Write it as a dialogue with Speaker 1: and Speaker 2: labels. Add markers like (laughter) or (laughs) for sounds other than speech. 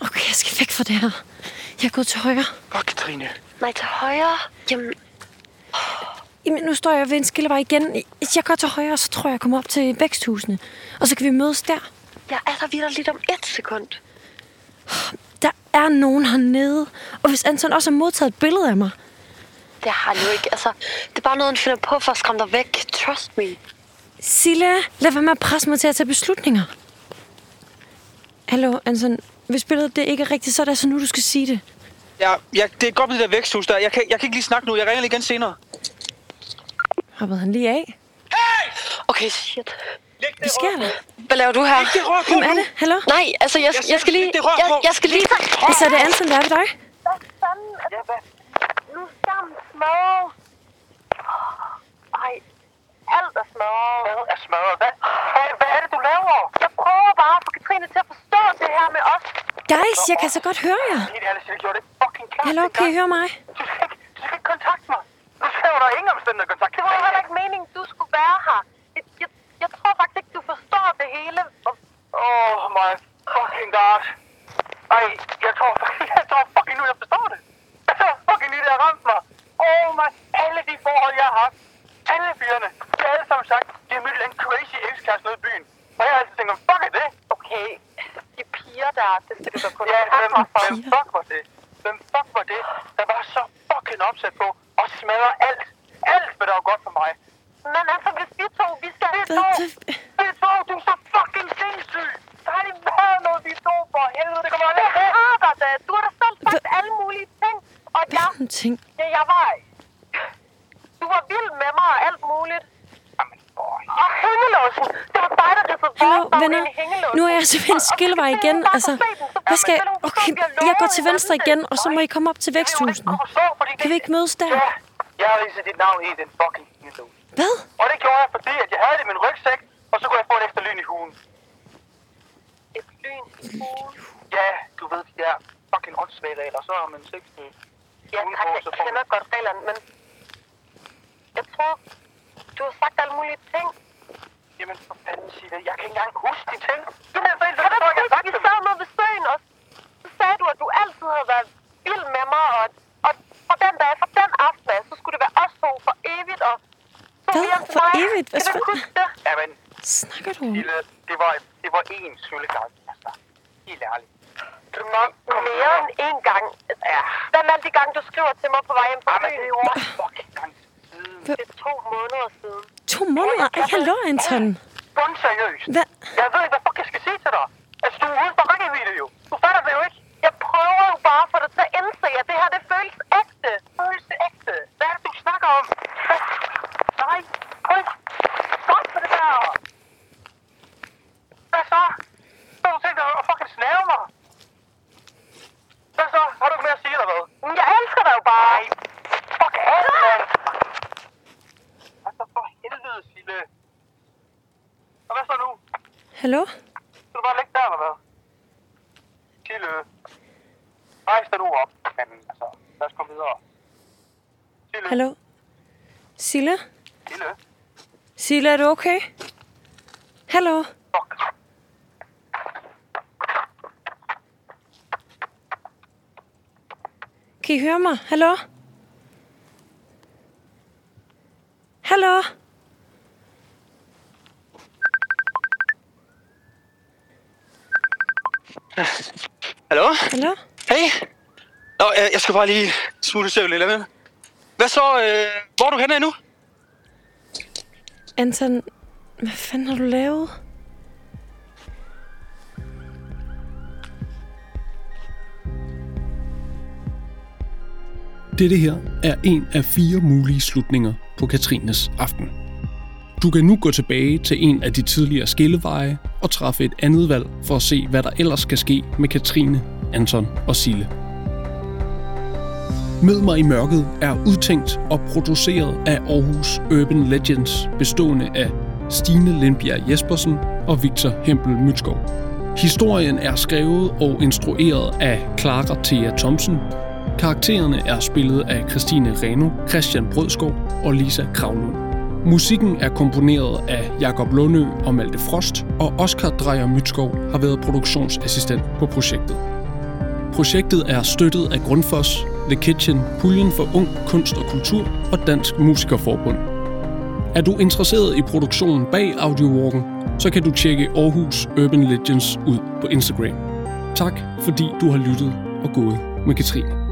Speaker 1: jeg skal væk fra det her. Jeg er gået til højre.
Speaker 2: Åh, Katrine.
Speaker 1: Nej, til højre? Jamen... Jamen, nu står jeg ved en skillevej igen. Hvis jeg går til højre, så tror jeg, jeg kommer op til væksthusene. Og så kan vi mødes der.
Speaker 3: Jeg er der videre lidt om et sekund.
Speaker 1: Der er nogen hernede. Og hvis Anton også har modtaget et billede af mig.
Speaker 3: Det har han jo ikke. Altså, det er bare noget, han finder på for at skræmme dig væk. Trust me.
Speaker 1: Silla, lad være med at presse mig til at tage beslutninger. Hallo, Anton. Hvis billedet det ikke er rigtigt, så er det altså nu, du skal sige det.
Speaker 2: Ja, ja, det er godt med det der væksthus der. Jeg kan, jeg kan ikke lige snakke nu. Jeg ringer lige igen senere.
Speaker 1: Hoppede han lige af?
Speaker 3: Okay, shit.
Speaker 2: Læg det
Speaker 1: Hvad sker
Speaker 2: rør
Speaker 1: der?
Speaker 3: Hvad laver du her?
Speaker 2: Læg det rør på
Speaker 1: Hvem er
Speaker 2: nu.
Speaker 1: det? Hallo?
Speaker 3: Nej, altså, jeg, jeg,
Speaker 2: Jeg
Speaker 3: skal
Speaker 2: skal
Speaker 3: lige...
Speaker 2: ikke det rør
Speaker 3: Jeg,
Speaker 2: på.
Speaker 3: jeg skal lige...
Speaker 1: Altså, er det Anton, der er ved dig?
Speaker 4: Hvad fanden er det? Hvad? Nu sammen smadret. Ej, alt er smadret. Hvad er smadret? Hvad, hvad, hvad er det, du laver? Jeg prøver bare at få Katrine til at forstå det her med os.
Speaker 1: Guys, jeg kan så godt høre jer.
Speaker 4: Helt ærligt, jeg gjorde det fucking klart.
Speaker 1: Hallo, kan I høre mig?
Speaker 4: Du skal ikke, du skal ikke kontakte mig. Du skal jo da ingen omstændigheder kontakte mig. Det var heller ikke meningen, du skulle være her. Jeg, jeg, jeg tror faktisk ikke, du forstår det hele. Oh my fucking god. Ej, jeg tror, (laughs) jeg tror fucking nu, jeg forstår det. Jeg tror fucking lige, det har ramt mig. Oh my, alle de forhold, jeg har haft. Alle fyrene. De har alle sammen sagt, de har mødt en crazy ekskæreste nede i byen. Og jeg har altid tænkt, fuck er det? Okay, de piger der, det skal du da kun. Ja, hvem, hvem fuck var det? Hvem fuck var det, der var så fucking opsat på at smadre alt? Alt, hvad der var godt for mig. Men altså, hvis vi to, vi skal... Vi
Speaker 1: Hvad-
Speaker 4: to,
Speaker 1: hvad-
Speaker 4: vi to, du er så fucking sindssyg! Der har lige været noget, vi to for helvede. Det kommer aldrig til.
Speaker 3: rør dig da. Du har da selv
Speaker 1: sagt
Speaker 3: alle mulige ting. Og
Speaker 1: Hvad for nogle ting?
Speaker 3: Ja, jeg var... Du var vild med mig og alt muligt.
Speaker 4: Jamen, boy.
Speaker 3: Og hængelåsen. Det var dig, der riffede
Speaker 1: Hallo, venner. Nu er jeg så ved en skillevej igen. Altså, hvad skal jeg... Okay, jeg går til venstre igen, og så må I komme op til væksthusene. Kan vi ikke mødes der?
Speaker 4: Ja, jeg har ridset dit navn i den fucking hængelås.
Speaker 1: Hvad?
Speaker 4: Og det gjorde jeg, fordi at jeg havde det i min rygsæk, og så kunne jeg få et ekstra lyn i hugen.
Speaker 3: Et lyn i hovedet.
Speaker 4: Ja, du ved de der fucking åndssvage regler, så er man seks i
Speaker 3: Ja, tak, jeg kender godt reglerne, men... Jeg tror, du har sagt alle mulige ting.
Speaker 4: Jamen for fanden, Sille, jeg kan ikke engang huske de ting. Du ved så ikke,
Speaker 3: Kan
Speaker 4: hvad
Speaker 3: du
Speaker 4: jeg har
Speaker 3: ikke
Speaker 4: sagt
Speaker 3: huske, altså, vi sad
Speaker 4: dem.
Speaker 3: nede ved søen, og så sagde du, at du altid havde været vild med mig, og, og fra den dag, fra den aften af, så skulle det være os to for evigt, og så
Speaker 1: Hvad?
Speaker 3: hjem til
Speaker 1: For
Speaker 3: mig.
Speaker 1: evigt? Hvad
Speaker 3: Kan du
Speaker 1: sku-
Speaker 3: ikke huske det?
Speaker 4: Jamen,
Speaker 1: Snakker du om?
Speaker 4: Sille, det var, det var én søllegang, altså. Helt ærligt.
Speaker 3: Du må mere end én gang.
Speaker 4: Ja.
Speaker 3: Hvad med alle de gange, du skriver til mig på vej hjem fra
Speaker 4: Jamen, det er jo
Speaker 3: byen?
Speaker 4: også fucking gang siden.
Speaker 3: Det er to måneder siden.
Speaker 1: To måneder? Ej, hallo, Anton.
Speaker 4: Bundseriøst.
Speaker 1: Hvad?
Speaker 4: Jeg ved ikke, hvad fuck jeg skal sige til dig. Altså, du er uden for rækkevidde jo. Du fatter det jo ikke.
Speaker 3: Jeg prøver jo bare at få dig til at indse, at det her, det føles ægte.
Speaker 4: Følelse ægte. Hvad er det, du snakker om? Hvad? Nej, prøv ikke. Stop med det der. Hvad så? Så har du tænkt dig at fucking snæve mig? Hvad så? Har du ikke mere at sige, eller hvad?
Speaker 3: Men Jeg elsker dig jo bare.
Speaker 4: Nej. Fuck af, mand. Altså, for helvede, Sille. Og hvad så nu?
Speaker 1: Hallo?
Speaker 4: Skal du bare ligge der, eller hvad? Sille. Rejs dig nu op, manden. Altså, lad os komme videre. Sille.
Speaker 1: Hallo? Silla?
Speaker 4: Sille.
Speaker 1: Silla, er du okay? Hallo?
Speaker 4: Fuck.
Speaker 1: Kan I høre mig? Hallo? Hallo?
Speaker 2: Hallo?
Speaker 1: Hallo?
Speaker 2: Hey. Nå, øh, jeg skal bare lige smutte søvn lidt. Hvad? Hvad så? Øh, hvor er du henne nu?
Speaker 1: Anton, hvad fanden har du lavet?
Speaker 5: Dette her er en af fire mulige slutninger på Katrines aften. Du kan nu gå tilbage til en af de tidligere skilleveje og træffe et andet valg for at se, hvad der ellers skal ske med Katrine, Anton og Sille. Mød mig i mørket er udtænkt og produceret af Aarhus Urban Legends, bestående af Stine Lindbjerg Jespersen og Victor Hempel Mytskov. Historien er skrevet og instrueret af Clara Thea Thomsen. Karaktererne er spillet af Christine Reno, Christian Brødskov og Lisa Kravlund. Musikken er komponeret af Jakob Lundø og Malte Frost, og Oscar Drejer Mytskov har været produktionsassistent på projektet. Projektet er støttet af Grundfos, The Kitchen, Puljen for Ung Kunst og Kultur og Dansk Musikerforbund. Er du interesseret i produktionen bag Audiowalken, så kan du tjekke Aarhus Urban Legends ud på Instagram. Tak fordi du har lyttet og gået med Katrine.